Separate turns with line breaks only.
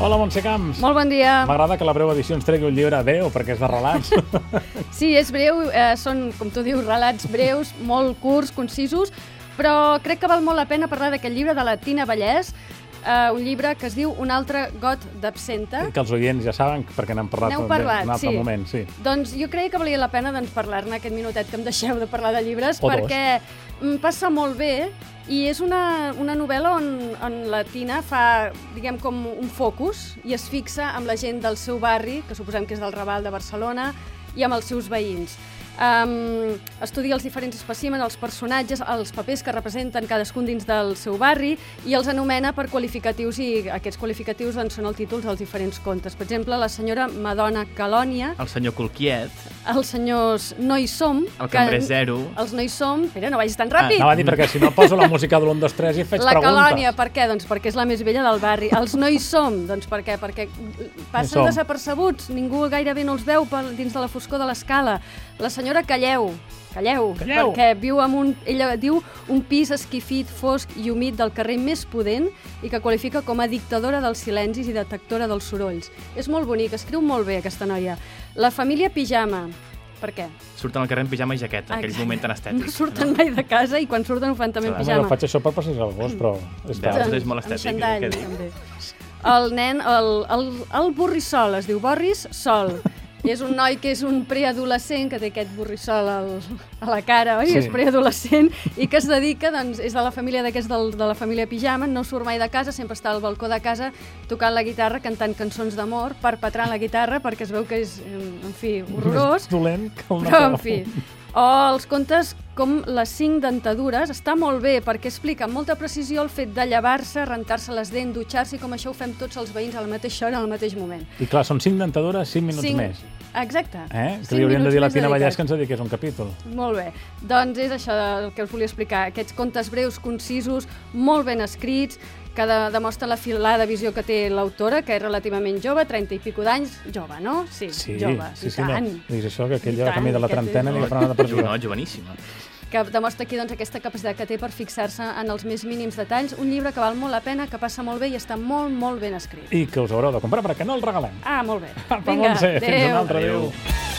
Hola, Montse Camps.
Molt bon dia.
M'agrada que la breu edició ens tregui un llibre breu, perquè és de relats.
Sí, és breu, eh, són, com tu dius, relats breus, molt curts, concisos, però crec que val molt la pena parlar d'aquest llibre de la Tina Vallès, eh, un llibre que es diu Un altre got d'absenta.
que els oients ja saben, perquè n'hem parlat,
N'heu
també
parlat,
en un altre
sí.
moment. Sí.
Doncs jo creia que valia la pena doncs, parlar-ne aquest minutet que em deixeu de parlar de llibres,
O dos.
perquè Eh, em passa molt bé i és una, una novel·la on, on la Tina fa, diguem, com un focus i es fixa amb la gent del seu barri, que suposem que és del Raval de Barcelona, i amb els seus veïns. Um, estudia els diferents espècimens, els personatges, els papers que representen cadascun dins del seu barri i els anomena per qualificatius i aquests qualificatius doncs, són els títols dels diferents contes. Per exemple, la senyora Madonna Calònia
El senyor Colquiet,
els senyors no hi som.
el cambrer zero... Ah,
Els no hi som. Espera, no vagis tan ràpid.
Anava a dir, perquè si no poso la música de l'1, 2, 3 i faig
la
preguntes. Ah,
Calònia, per què? Doncs perquè és la més vella del barri. Els no hi som, doncs per què? Perquè passen
som.
desapercebuts, ningú gairebé no els veu per, dins de la foscor de l'escala. La senyora Calleu, Calleu,
Calleu.
perquè viu amb un, ella diu, un pis esquifit, fosc i humit del carrer més pudent i que qualifica com a dictadora dels silencis i detectora dels sorolls. És molt bonic, escriu molt bé aquesta noia. La família Pijama, per què?
Surten al carrer en pijama i jaqueta, aquell moment tan estètic.
No surten mai de casa i quan surten ho fan també en
Home,
Home, jo
pijama.
faig això per passejar el gos, però... És
Veus?
tard.
Doncs és molt
Amb
estètic,
xandall,
eh, què dic?
també. El nen, el, el, el borrissol, es diu Borris Sol. I és un noi que és un preadolescent, que té aquest borrissol al, a la cara, oi?
Sí.
Sí. És preadolescent i que es dedica, doncs, és de la família d'aquests del, de la família pijama, no surt mai de casa, sempre està al balcó de casa tocant la guitarra, cantant cançons d'amor, perpetrant la guitarra, perquè es veu que és, eh, en fi, horrorós.
Més dolent que el
Però, en fi, o els contes com les cinc dentadures, està molt bé perquè explica amb molta precisió el fet de llevar-se, rentar-se les dents, dutxar-se i com això ho fem tots els veïns a la mateixa hora, al mateix moment.
I clar, són 5 dentadures, 5 minuts
Cinc-
més.
Exacte.
Eh?
Cinc
Que li hauríem de
minuts
dir a la
més
Tina Vallès
dedicats.
que ens dediqués un capítol.
Molt bé. Doncs és això el que us volia explicar. Aquests contes breus, concisos, molt ben escrits, que de, demostra la filada visió que té l'autora, que és relativament jove, 30 i pico d'anys, jove, no? Sí, jove,
sí,
i
sí,
tant.
no. Dius això, que aquell
I
ja va
tant,
camí de la
aquest és-
trentena i li farà una
Jo, no,
persona.
joveníssima.
que demostra aquí doncs, aquesta capacitat que té per fixar-se en els més mínims detalls. Un llibre que val molt la pena, que passa molt bé i està molt, molt ben escrit.
I que us haureu de comprar perquè no el regalem.
Ah, molt bé.
Apa, Montse, fins
adéu.
un altre. Adéu.
Adéu.